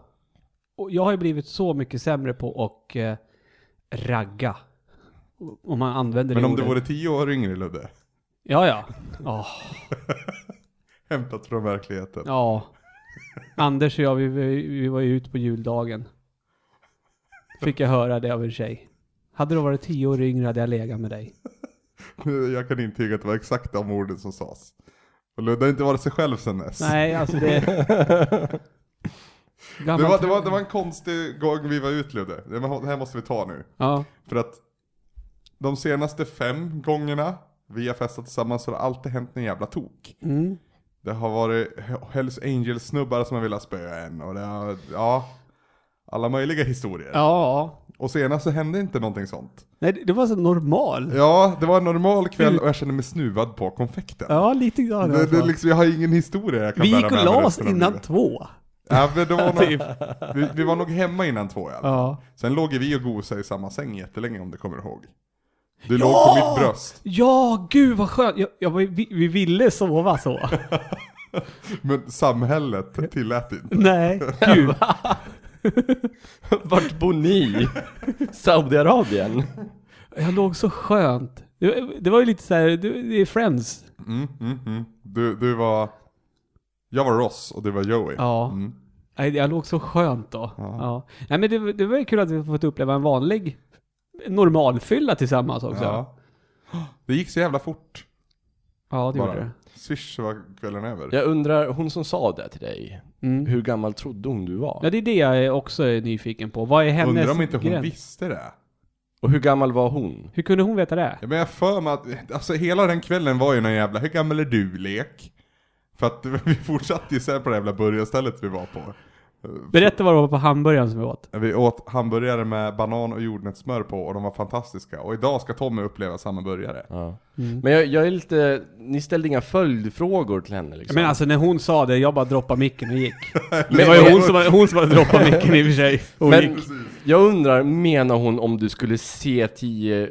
Och jag har ju blivit så mycket sämre på att eh, ragga. Om man använder Men det om du ordet. vore tio år yngre Ludde, Ja, ja. Ja. hämtat från verkligheten. ja. Anders och jag, vi, vi, vi var ju ute på juldagen. Fick jag höra det av en tjej. Hade du varit tio år yngre hade jag legat med dig. Jag kan intyga att det var exakt de orden som sades. Och Ludde har inte varit sig själv sen dess. Nej, alltså det... Det var, Gammalt... det, var, det var en konstig gång vi var ut Ludde. Det var- det här måste vi ta nu. Ja. För att de senaste fem gångerna vi har festat tillsammans så har det alltid hänt en jävla tok. Mm. Det har varit Hells Angels-snubbar som har velat spöa en och det har, ja, alla möjliga historier. Ja. Och senast så hände inte någonting sånt. Nej, det- det var så normal. Ja, Ja, det var en normal kväll och jag kände mig snuvad på konfekten. lite grann i det, alla det, är fall. liksom, jag har ingen historia jag kan Vi bära gick och med mig la oss resten av innan livet. två. Ja, men det var nog, Typ. vi, vi var nog hemma innan två i alla fall. Ja. Sen låg ju vi och gosade i samma säng jättelänge om du kommer ihåg. Du Ja! låg på mitt bröst. Ja, gud vad skönt. Jag, jag, var- vi, vi ville sova så. Men samhället tillät inte. Nej, gud. Vart bor ni? Saudiarabien? Jag låg så skönt. Det, det var ju lite så här, det, det är Friends. Mm, mm, mm. Du, du var... Jag var Ross och du var Joey. Ja. Mm. Nej, jag låg så skönt då. Ja. Ja. Nej, men det, det var ju kul att vi fått uppleva en vanlig normalfylla tillsammans också. Ja, Ja. Det gick så jävla fort. det gjorde Bara. det. Swish så var kvällen över. Jag undrar, hon som sa det till dig, Mm. hur gammal trodde hon du var? Ja, det är det jag är också är nyfiken på. Vad är hennes Undrar om inte hon gräns? visste det. Och hur gammal var hon? Hur kunde hon veta det? Ja, men jag för mig att, alltså hela den kvällen var ju någon jävla hur gammal är du-lek. För att vi fortsatte ju sen på det jävla burgarstället vi var på. Berätta vad det var på hamburgaren som vi åt. Vi åt hamburgare med banan och jordnötssmör på och de var fantastiska. Och idag ska Tommy uppleva samma burgare. Ja. Mm. Men jag, jag är lite, ni ställde inga följdfrågor till henne liksom. Men alltså när hon sa det, jag bara droppade micken och gick. Men- det var ju hon som, hon som hade droppat micken i och för sig. Och Men- gick. Jag undrar, menar hon om du skulle se tio...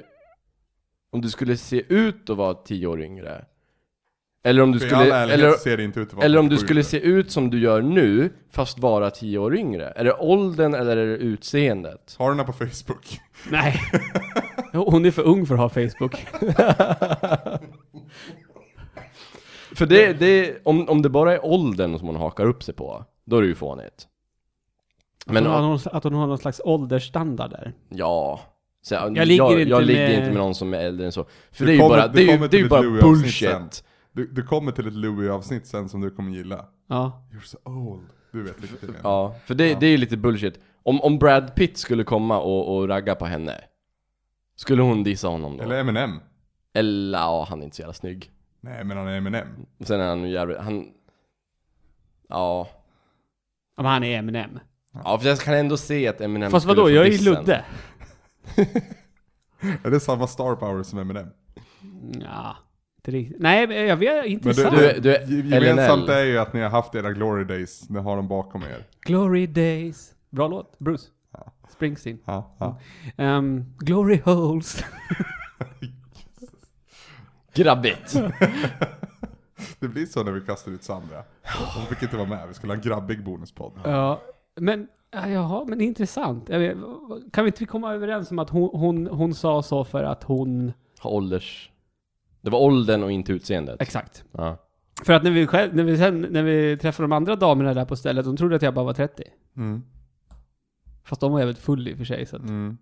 Om du skulle se ut att vara tio år yngre? Eller om du För i all skulle... ärlighet Eller, så ser det inte ut att vara eller om du 47. skulle se ut som du gör nu, fast vara tio år yngre? Är det åldern eller är det utseendet? Har den här på Facebook? Nej. Hon är för ung för att ha Facebook. För det, det om, om det bara är åldern som hon hakar upp sig på, då är det ju fånigt. Men hon har någon, att hon har någon slags åldersstandard där. Ja. Så jag, Jag jag, ligger jag, inte ligger med- inte med någon som är äldre än så. För Du det är ju kommer- bara, du det är ju, kommer det är ju till bara ett Louis-avsnitt sen. bullshit. Du, du kommer till ett Louis-avsnitt sen som du kommer gilla. Ja. You're so old. Du vet vilket jag menar. Ja, för det, det är ju lite bullshit. Om, om Brad Pitt skulle komma och, och ragga på henne, skulle hon dissa honom då? Eller Eller, Eminem. ja, han är inte så jävla snygg. Nej men han är Eminem. Sen är han ju jävligt, han... Ja. Men han är Eminem. Ja, för jag kan ändå se att Eminem Fast skulle vadå, få jag är ju dissen. Ludde. Är det samma star power som Eminem? Ja, inte riktigt. Nej, men jag vet Men du, intressant. du, Du- du är gemensamt LNL. är ju att ni har haft era glory days, ni har dem bakom er. Glory Days. Bra låt. Bruce. Springsteen. Ja, ja. Ehm, glory Holes. Grabbigt. Det blir så när vi kastar ut Sandra. Hon fick inte vara med, vi skulle ha en grabbig bonuspodd. ja, men ja, jaha, men intressant. Jag vet, kan vi inte komma överens om att hon, hon, hon sa så för att hon... Ha ålders... Det var åldern och inte utseendet. Exakt. Ja. För att när vi, själv, när vi, sen, när vi träffade de andra damerna där på stället, de trodde att jag bara var 30. Mm. Fast de var jävligt full i och för sig. Så att, Mm.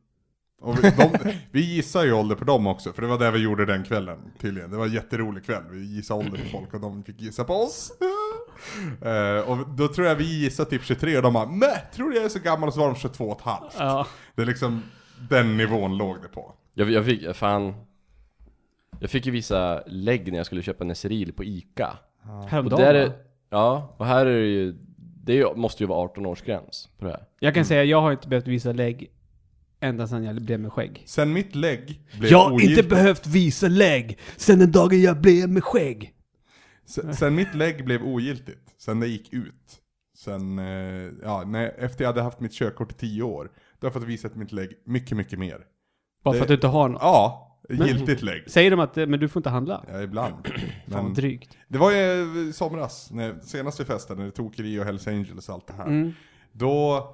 Och vi, de, vi gissar ju ålder på dem också, för det var det vi gjorde den kvällen tydligen. Det var en jätterolig kväll, vi gissade ålder på folk och de fick gissa på oss. Eh, och då tror jag vi gissade typ 23 och de bara Mäh, tror du jag är så gammal? Och så var de 22 och ett halvt. ja. Det är liksom, den nivån låg det på. Jag, jag fick, fan... Jag fick ju vissa lägg när jag skulle köpa Neseril på Ica. Och Häromdagen. där Där är, ja, och här är det ju, det är ju- måste ju vara 18-årsgräns på det här. Jag kan Mm. säga, jag har inte behövt visa lägg ända sedan jag blev med skägg. Sen mitt lägg blev Jag har ogiltigt. inte behövt visa lägg sedan den dagen jag blev med skägg. Sen, sen mitt lägg blev ogiltigt, sen det gick ut. Sen, eh, ja, när, efter jag hade haft mitt körkort i 10 år, då har jag fått visa mitt lägg mycket, mycket mer. Bara Det- för att du inte har något. Ja, giltigt lägg. Säger de att eh, men du får inte handla? Ja, ibland. Fan Men vad drygt. det var ju i somras, när, senaste festen, när det tog i och Hells Angels och allt det här. Mm. Då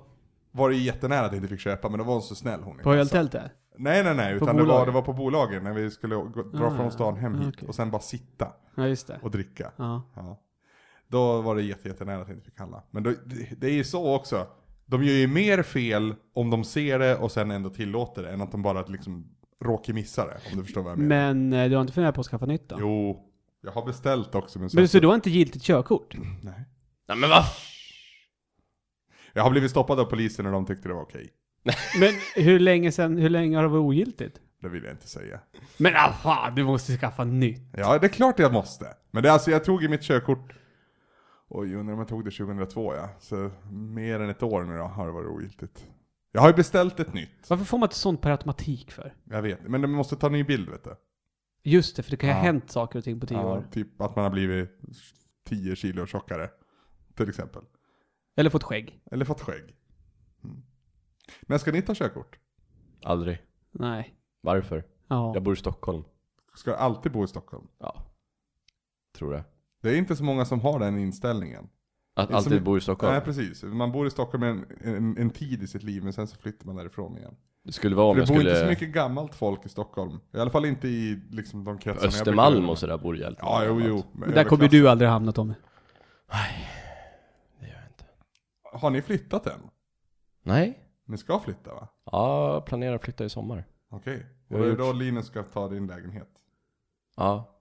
var det ju jättenära att jag inte fick köpa, men då var hon så snäll hon. i På kassan. öltältet? Nej nej nej, På utan det var, bolagen? det var på bolagen när vi skulle gå, dra Ah, från stan hem hit. okej. Ah. Och sen bara sitta Ja, just det. och dricka. Ja. Ja. Då var det jätte, jättenära att jag inte fick handla. Men då, det, det är ju så också. De gör ju mer fel om de ser det och sen ändå tillåter det än att de bara liksom råkar missa det. Om du förstår vad jag menar. Men eh, du har inte funderat på att skaffa nytt då? Jo, jag har beställt också men, Men sen så du har inte giltigt körkort? Nej. Nej men vad? Jag har blivit stoppad av polisen och de tyckte det var okej. Men hur länge sen, hur länge har det varit ogiltigt? Det vill jag inte säga. Men ah, fan, du måste skaffa nytt. Ja, det är klart jag måste. Men det är alltså, jag tog ju mitt körkort... Oj, undrar om jag tog det 2002 ja. Så mer än ett år nu då har det varit ogiltigt. Jag har ju beställt ett nytt. Varför får man inte sånt per automatik för? Jag vet, men man måste ta en ny bild vet du. Just det, för det kan ju ha Ja. hänt saker och ting på tio år. typ att man har blivit 10 kilo tjockare. Till exempel. Eller fått skägg. Eller fått skägg. Mm. Men ska ni ta körkort? Aldrig. Nej. Varför? Ja. Jag bor i Stockholm. Ska alltid bo i Stockholm? Ja. Tror jag. Det är inte så många som har den inställningen. Att Det är alltid som- bo i Stockholm. Nej precis, man bor i Stockholm en, en, en tid i sitt liv men sen så flyttar man därifrån igen. Det skulle vara om För det jag bor inte så skulle... mycket gammalt folk i Stockholm. I alla fall inte i liksom, de kretsarna jag brukar Östermalm umgås och sådär bor jävligt Ja, jo, mycket jo. annat. men Men där kommer ju överklass. du aldrig hamna Tommy. Det gör jag inte. Har ni flyttat än? Nej. Ni ska flytta va? Ja, jag planerar att flytta i sommar. Okej. Jag Och har det är gjort- då Linus ska ta din lägenhet. Ja.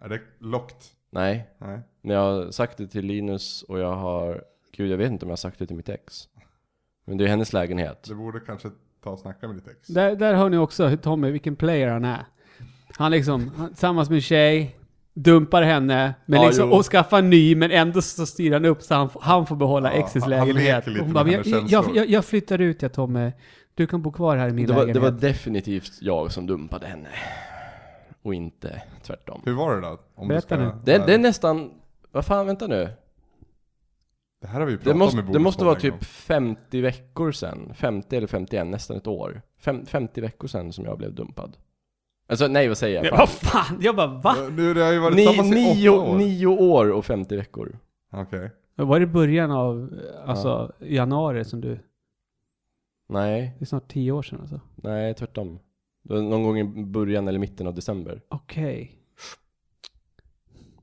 Är det lockt? Nej. Nej. Men jag har sagt det till Linus och jag har... Gud, jag vet inte om jag har sagt det till mitt ex. Men det är hennes lägenhet. Du borde kanske ta och snacka med ditt ex. Där, där hör ni också hur Tommy, vilken player han är. Han liksom, han, tillsammans med en tjej, dumpar henne, men Ja, liksom, jo. och skaffar en ny, men ändå så styr han upp så han, får- han får behålla Ja, exets han- han lägenhet. leker lite Och hon med bara, men hennes jag, jag, känslor." jag, jag flyttar ut ja Tommy, du kan bo kvar här i min Det var, lägenhet. det var definitivt jag som dumpade henne. Och inte tvärtom. Hur var det då? Om Berätta du nu. ska... Det, det är nästan... Vad fan, vänta nu. Det här har vi ju pratat Det måste, om i det måste vara Bonuspodden en typ 50 veckor sedan. 50 eller 51, nästan ett år. Fem, 50 veckor sedan som jag blev dumpad. Alltså nej, vad säger jag? Men Fan. vad fan, jag bara va? gång. Nu, det har ju varit Ni, tillsammans i nio, åtta år. år. nio år och 50 veckor. Okej. Var det början av, eh, alltså januari som du, Nej, det är snart tio år sedan alltså? nej tvärtom. Det var Någon gång i början eller mitten av december. Okej,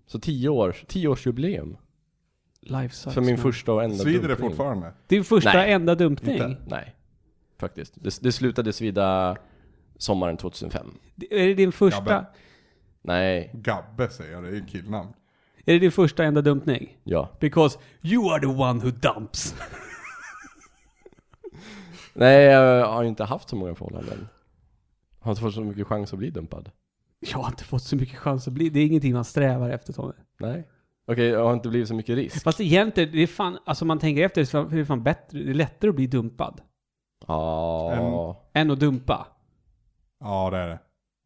Så tio år, tioårsjubileum. life size. För min man. första och enda Svider det dumpning. fortfarande? Din första Nej. enda dumpning? Inte. Nej, faktiskt. Det, det slutade svida sommaren 2005. Det- Är det din första, Gabbe. Nej, Gabbe säger jag, det är ju killnamn. är det din första enda dumpning? ja. Because you are the one who dumps. Nej, jag har inte haft så många förhållanden. Har inte fått så mycket chans att bli dumpad. Jag har inte fått så mycket chans att bli. Det är ingenting man strävar efter Tommy. Nej. Okej, jag har inte blivit så mycket risk. Fast egentligen, det är fan, alltså man tänker efter, så är det fan bättre, det är lättare att bli dumpad. Ja. Än att dumpa. Ja, det är det.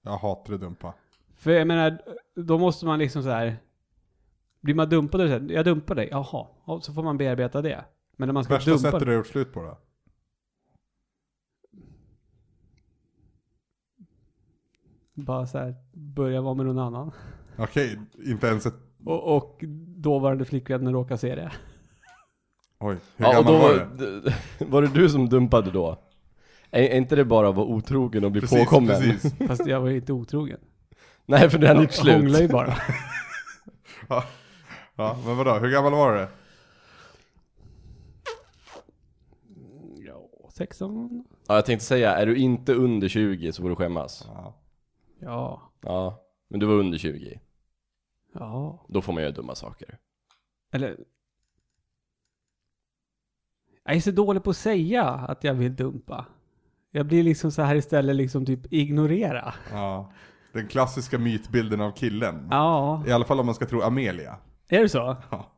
Jag hatar att dumpa. För jag menar, då måste man liksom så här. Blir man dumpad och så här, jag dumpar dig, jaha. Ja, Så får man bearbeta det. Men när man ska Värsta dumpa... sättet du har gjort slut på då? Bara så här, börja vara med någon annan. Okej, inte ens ett... Och, och dåvarande flickvännen råkar se det. Oj, hur Ja, och gammal då var var, du? d- var det du som dumpade då? Är, är inte det bara att vara otrogen och bli Precis, påkommen? precis. Fast jag var ju inte otrogen. Nej, för den är ju Jag hånglade ju slut. bara. Ja, men vadå, hur gammal var du? Ja, 16? Ja, jag tänkte säga, är du inte under 20 så får du skämmas. Ja. Ja. Ja, men du var under 20. Ja. Då får man göra dumma saker. Eller... Jag är så dålig på att säga att jag vill dumpa. Jag blir liksom så här istället liksom typ ignorera. ja. Den klassiska mytbilden av killen. Ja. I alla fall om man ska tro Amelia. Är det så? Ja.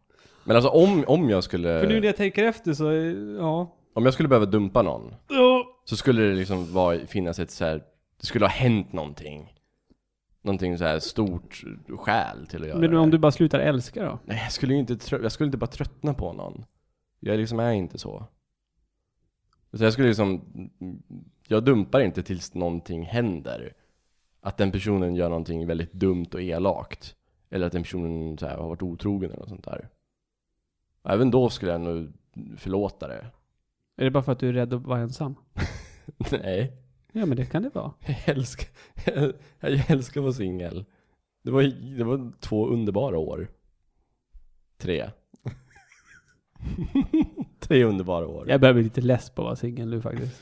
Men alltså om, om jag För nu skulle, när jag tänker efter så, eh, ja. om jag skulle behöva dumpa någon, Ja. så skulle det liksom vara, finnas ett så här, det skulle ha hänt någonting. Någonting så här stort skäl till att göra Men om det. du bara slutar älska då? Nej, jag skulle ju inte, trö- jag skulle inte bara tröttna på någon. Jag liksom är inte så. Så jag skulle liksom, jag dumpar inte tills någonting händer. Att den personen gör någonting väldigt dumt och elakt. Eller att den personen så här, har varit otrogen eller något sånt där. Även då skulle jag nog förlåta det. Är det bara för att du är rädd att vara ensam? Nej. Ja men det kan det vara. Jag älskar, jag älskar att vara singel. Det var, det var två underbara år. Tre. Tre underbara år. Jag börjar bli lite less på att vara singel nu faktiskt.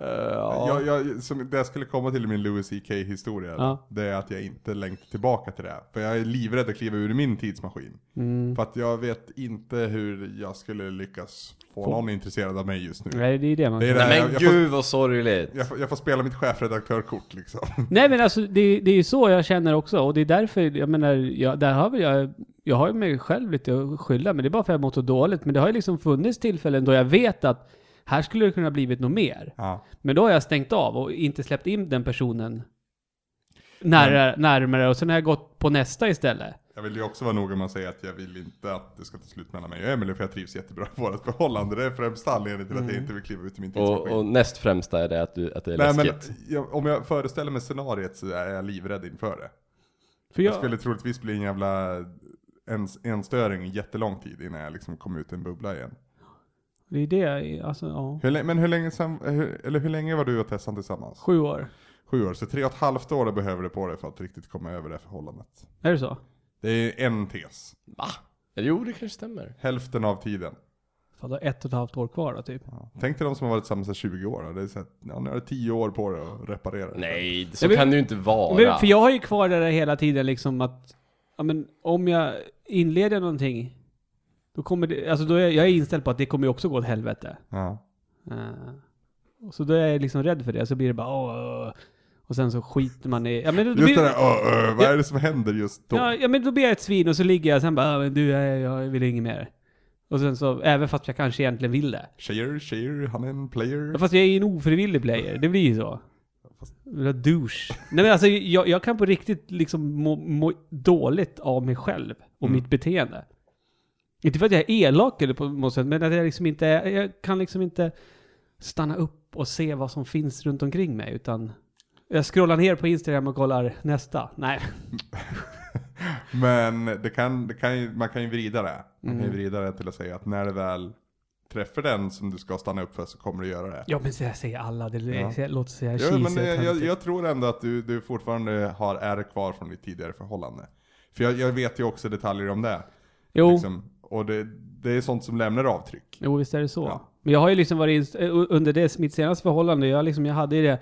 Eh, ja. Jag, jag, som det jag skulle komma till i min Louis CK historia, Ja. det är att jag inte längtar tillbaka till det. här. För jag är livrädd att kliva ur min tidsmaskin. Mm. För att jag vet inte hur jag skulle lyckas få Få- någon intresserad av mig just nu. Nej det är det man Det är Nej, det. men jag- jag gud vad sorgligt. Jag, får, jag får spela mitt chefredaktörkort liksom. Nej men alltså det, det är ju så jag känner också och det är därför, jag menar, jag, där har väl jag, jag har ju mig själv lite att skylla men det är bara för att jag mått så dåligt. Men det har ju liksom funnits tillfällen då jag vet att Här skulle det kunna blivit något mer. Ja. Men då har jag stängt av och inte släppt in den personen nära, närmare och sen har jag gått på nästa istället. Jag vill ju också vara noga med att säga att jag vill inte att det ska ta slut mellan mig och Emelie för jag trivs jättebra i vårt förhållande. Det är främsta anledningen till att jag inte vill kliva ut i min Och, tidsmaskin. och näst främsta är det att, du, att det är Nej men läskigt. jag, om jag föreställer mig scenariet så är jag livrädd inför det. För Jag jag, skulle troligtvis bli en jävla ens, enstöring jättelång tid innan jag liksom kom ut i en bubbla igen. det är det, jag- alltså ja. Hur, lä- men hur länge, sen, hur, eller hur länge var du och Tessan tillsammans? Sju år. Sju år, så tre och ett halvt år behöver du på dig för att riktigt komma över det här förhållandet. Är det så? Det är en tes. Va? Jo, det kanske stämmer. Hälften av tiden. Fan, då har ett och ett halvt år kvar då typ. Ja. Tänk dig de som har varit tillsammans i 20 år. då. Det är så här, ja, nu har du 10 år på dig att reparera. det. Nej, så Ja, men- kan det ju inte vara. Men, för jag har ju kvar det där hela tiden liksom att, ja men om jag inleder någonting, då kommer det, alltså då är jag, jag är inställd på att det kommer ju också gå åt helvete. Ja. Eh, och så då är jag liksom rädd för det, så blir det bara åh, åh. Och sen så skiter man i, ja men då, då Just blir det där, "Åh, åh, vad är det som händer just då? Ja, ja men då blir jag ett svin och så ligger jag sen bara, "Ah, men du, jag, jag vill inget mer. Och sen så, även fast jag kanske egentligen vill det. Tjejer, tjejer, han är en Ja, player. Fast jag är ju en ofrivillig player, det blir ju så. Jävla douche. Nej men alltså, jag, jag kan på riktigt liksom må, må dåligt av mig själv och Mm. mitt beteende. Inte för att jag är elak eller på något sätt, men att jag liksom inte, jag kan liksom inte stanna upp och se vad som finns runt omkring mig, utan jag scrollar ner på Instagram och kollar nästa. Nej. Men det kan, det kan ju, man kan ju vrida det. Man kan ju Mm. vrida det till att säga att när det väl träffar den som du ska stanna upp för så kommer du göra det. Ja men så jag säger alla, det Ja. låter så här Ja, cheesy men och jag, jag, töntigt. jag tror ändå att du, du fortfarande har är kvar från ditt tidigare förhållande. För jag, jag vet ju också detaljer om det. Jo, Liksom. Och det, det är sånt som lämnar avtryck. jo visst är det så. Ja. Men jag har ju liksom varit inst- eh, under det, mitt senaste förhållande, jag, liksom, jag hade ju det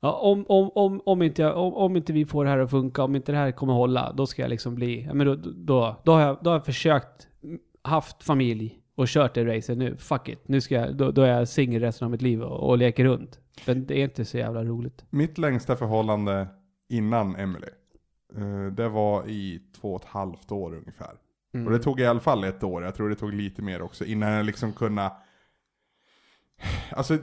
Ja, om, om, om, om, inte jag, om, om inte vi får det här att funka, om inte det här kommer hålla, då ska jag liksom bli... Ja, men då, då, då, har jag, då har jag försökt, mm, haft familj och kört det racet nu. Fuck it. Nu ska jag, då, då är jag singel resten av mitt liv och, och leker runt. Men det är inte så jävla roligt. Mitt längsta förhållande innan Emily. eh, Det var i två och ett halvt år ungefär. Mm. Och det tog i alla fall ett år, jag tror det tog lite mer också, innan jag liksom kunna... Alltså,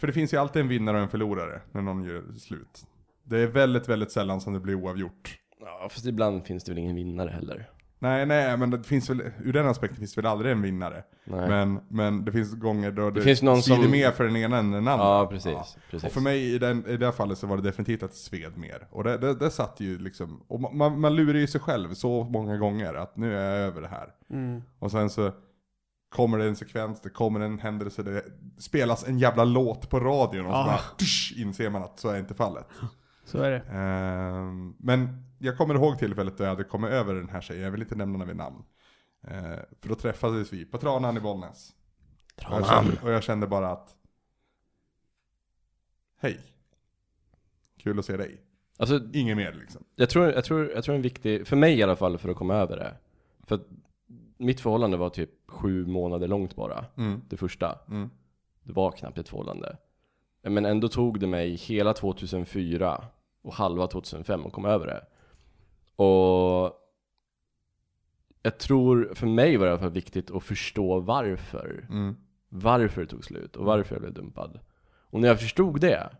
för det finns ju alltid en vinnare och en förlorare när någon gör slut. Det är väldigt, väldigt sällan som det blir oavgjort. Ja, fast ibland finns det väl ingen vinnare heller. Nej, nej, men det finns väl, ur den aspekten finns det väl aldrig en vinnare. Nej. Men, men det finns gånger då det, finns någon svider som- mer för den ena än den andra. ja, precis. Och precis. för mig i, den, i det här fallet så var det definitivt att det sved mer. Och det, det, det satt ju liksom, och ma- man, man lurar ju sig själv så många gånger att nu är jag över det här. Och sen så kommer det en sekvens, det kommer en händelse, det spelas en jävla låt på radion och så Ah. bara tsch, inser man att så är inte fallet. Så är det. Ehm, men jag kommer ihåg tillfället då jag hade kommit över den här tjejen, jag vill inte nämna några vid namn. Ehm, för då träffades vi på Tranan i Bollnäs. Och jag, kände, och jag kände bara att Hej. Kul att se dig. Alltså, Inget mer liksom. jag tror, jag, tror, jag tror en viktig, för mig i alla fall, för att komma över det. För att mitt förhållande var typ sju månader långt bara, Mm, det första. mm, Det var knappt ett förhållande. Men ändå tog det mig hela 2004 och halva 2005 att komma över det. Och jag tror, för mig var det i alla fall viktigt att förstå varför mm. varför det tog slut och varför jag blev dumpad. Och när jag förstod det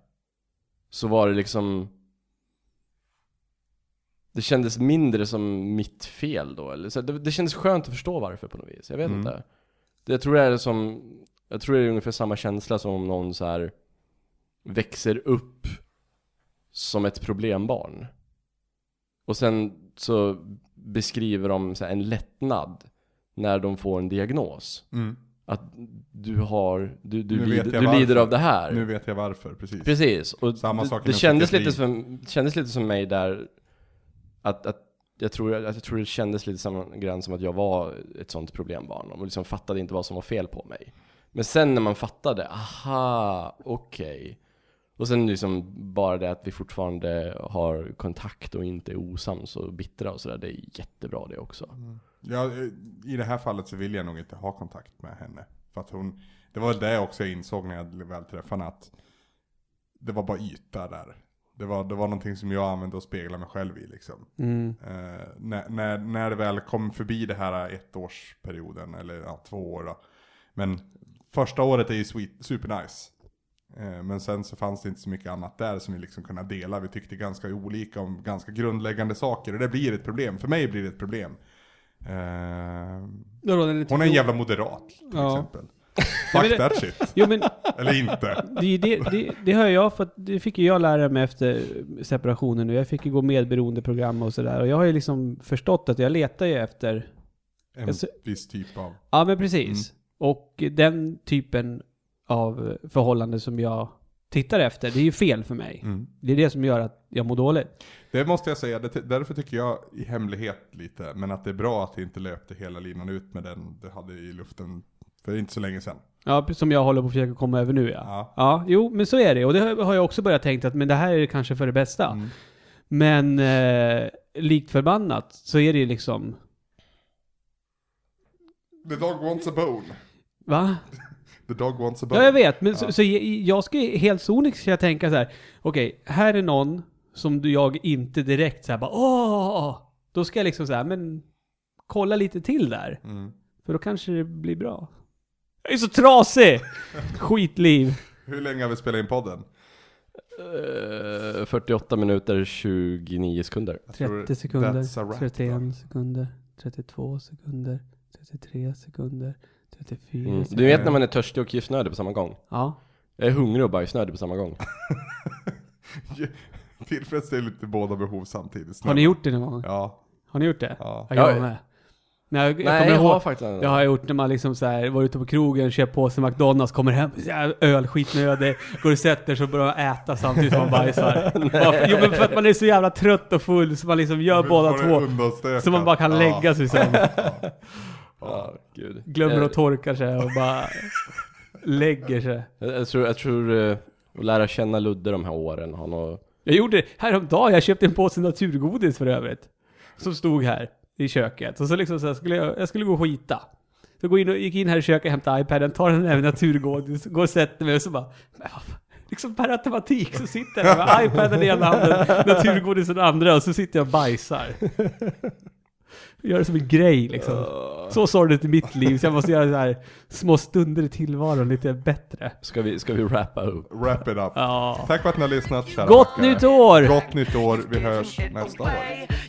så var det liksom det kändes mindre som mitt fel då, eller så det, det kändes skönt att förstå varför på något vis, jag vet Mm. inte. Det, jag tror det är som, jag tror det är ungefär samma känsla som om någon så här växer upp som ett problembarn. Och sen så beskriver de så här en lättnad när de får en diagnos. mm. Att du har, du, du, Nu vet lider, jag du lider varför. av det här. Nu vet jag varför, precis. Precis, och Samma det, sak det inom kändes, lite psykiatrin. som, det kändes lite som mig där, att, att jag tror, att jag tror det kändes lite samma grann som att jag var ett sånt problembarn och liksom fattade inte vad som var fel på mig. Men sen när man fattade, aha, okej. Och sen liksom bara det att vi fortfarande har kontakt och inte är osams och bittra och sådär, det är jättebra det också. Ja, eh, I det här fallet så vill jag nog inte ha kontakt med henne. För att hon, det var det också jag insåg när jag väl träffade henne, att det var bara yta där. Det var, det var någonting som jag använde och speglade mig själv i liksom. Mm. Eh, när, när, när det väl kom förbi det här ettårsperioden, eller ja, två år då. Men första året är ju sweet, supernice. Eh, Men sen så fanns det inte så mycket annat där som vi liksom kunde dela. Vi tyckte ganska olika om ganska grundläggande saker. Och det blir ett problem. För mig blir det ett problem. Eh, Då då, den lite Hon är en grov. jävla moderat, till Ja. exempel. Ja, men Fuck det- that shit. Jo men Eller inte. det, det, det, det har jag fått, det fick ju jag lära mig efter separationen nu. Jag fick ju gå medberoendeprogram och sådär. Och jag har ju liksom förstått att jag letar ju efter, En Jag ser- viss typ av... ja men precis. Mm. Och den typen av förhållande som jag tittar efter, det är ju fel för mig. Mm. Det är det som gör att jag mår dåligt. Det måste jag säga, det, därför tycker jag i hemlighet lite, men att det är bra att det inte löpte hela linan ut med den du hade i luften för inte så länge sedan. Ja, som jag håller på att försöka komma över nu ja. Ja. Ja, jo, men så är det. Och det har jag också börjat tänka att men det här är kanske för det bästa. Mm. Men eh, likt förbannat så är det ju liksom, The dog wants a bone. va? The dog wants a bone. Ja, jag vet. Men Ja. så, så jag- jag ska helt sonika ska jag tänka så här. Okej, här är någon som du- jag inte direkt så här bara åh! Då ska jag liksom så här, men kolla lite till där. Mm. För då kanske det blir bra. Jag är så trasig! Skitliv. Hur länge har vi spelat in podden? Eh, 48 minuter 29 sekunder. Jag tror 30 sekunder, that's a wrap, 31 sekunder, 32 sekunder, 33 sekunder, 34 Mm. sekunder. Du vet när man är törstig och kissnödig på samma gång? Ja. Jag är hungrig och bajsnödig på samma gång. då. Tillfredsställer inte båda behov samtidigt. Har ni gjort det någon gång? Ja. Har ni gjort det? ja. Ja, jag Ja. med. Nej, jag, jag Nej, kommer jag har ihåg. faktiskt en Det har jag gjort när man liksom så här, var ute på krogen, köper på sig McDonalds, kommer hem, så här, öl, skitnödig, går och sätter sig och börjar äta samtidigt som man bajsar. Varför? jo men för att man är så jävla trött och full så man liksom gör båda två. Så man bara kan lägga sig sen. Ja, gud. Glömmer Eh, att torka sig och bara lägger sig. Jag, jag tror, jag tror eh, att lära känna Ludde de här åren har nog... Jag gjorde det häromdagen, jag köpte en påse naturgodis för övrigt. Som stod här i köket. Och så liksom så här skulle jag, jag skulle gå och skita. Så går in och, gick in här i köket, hämtade iPaden, tar den där naturgodis, går och sätter mig och så bara... Men vad fan? Liksom per automatik så sitter jag där med iPaden i ena handen, naturgodis i den andra och så sitter jag och bajsar. Gör det som en grej liksom. Så sorgligt i mitt liv, så jag måste göra så här små stunder i tillvaron lite bättre. Ska vi, ska vi wrappa upp? Wrap it up. Ja. Tack för att ni har lyssnat kära Gott rackare. nytt år! Gott nytt år. Vi hörs nästa år.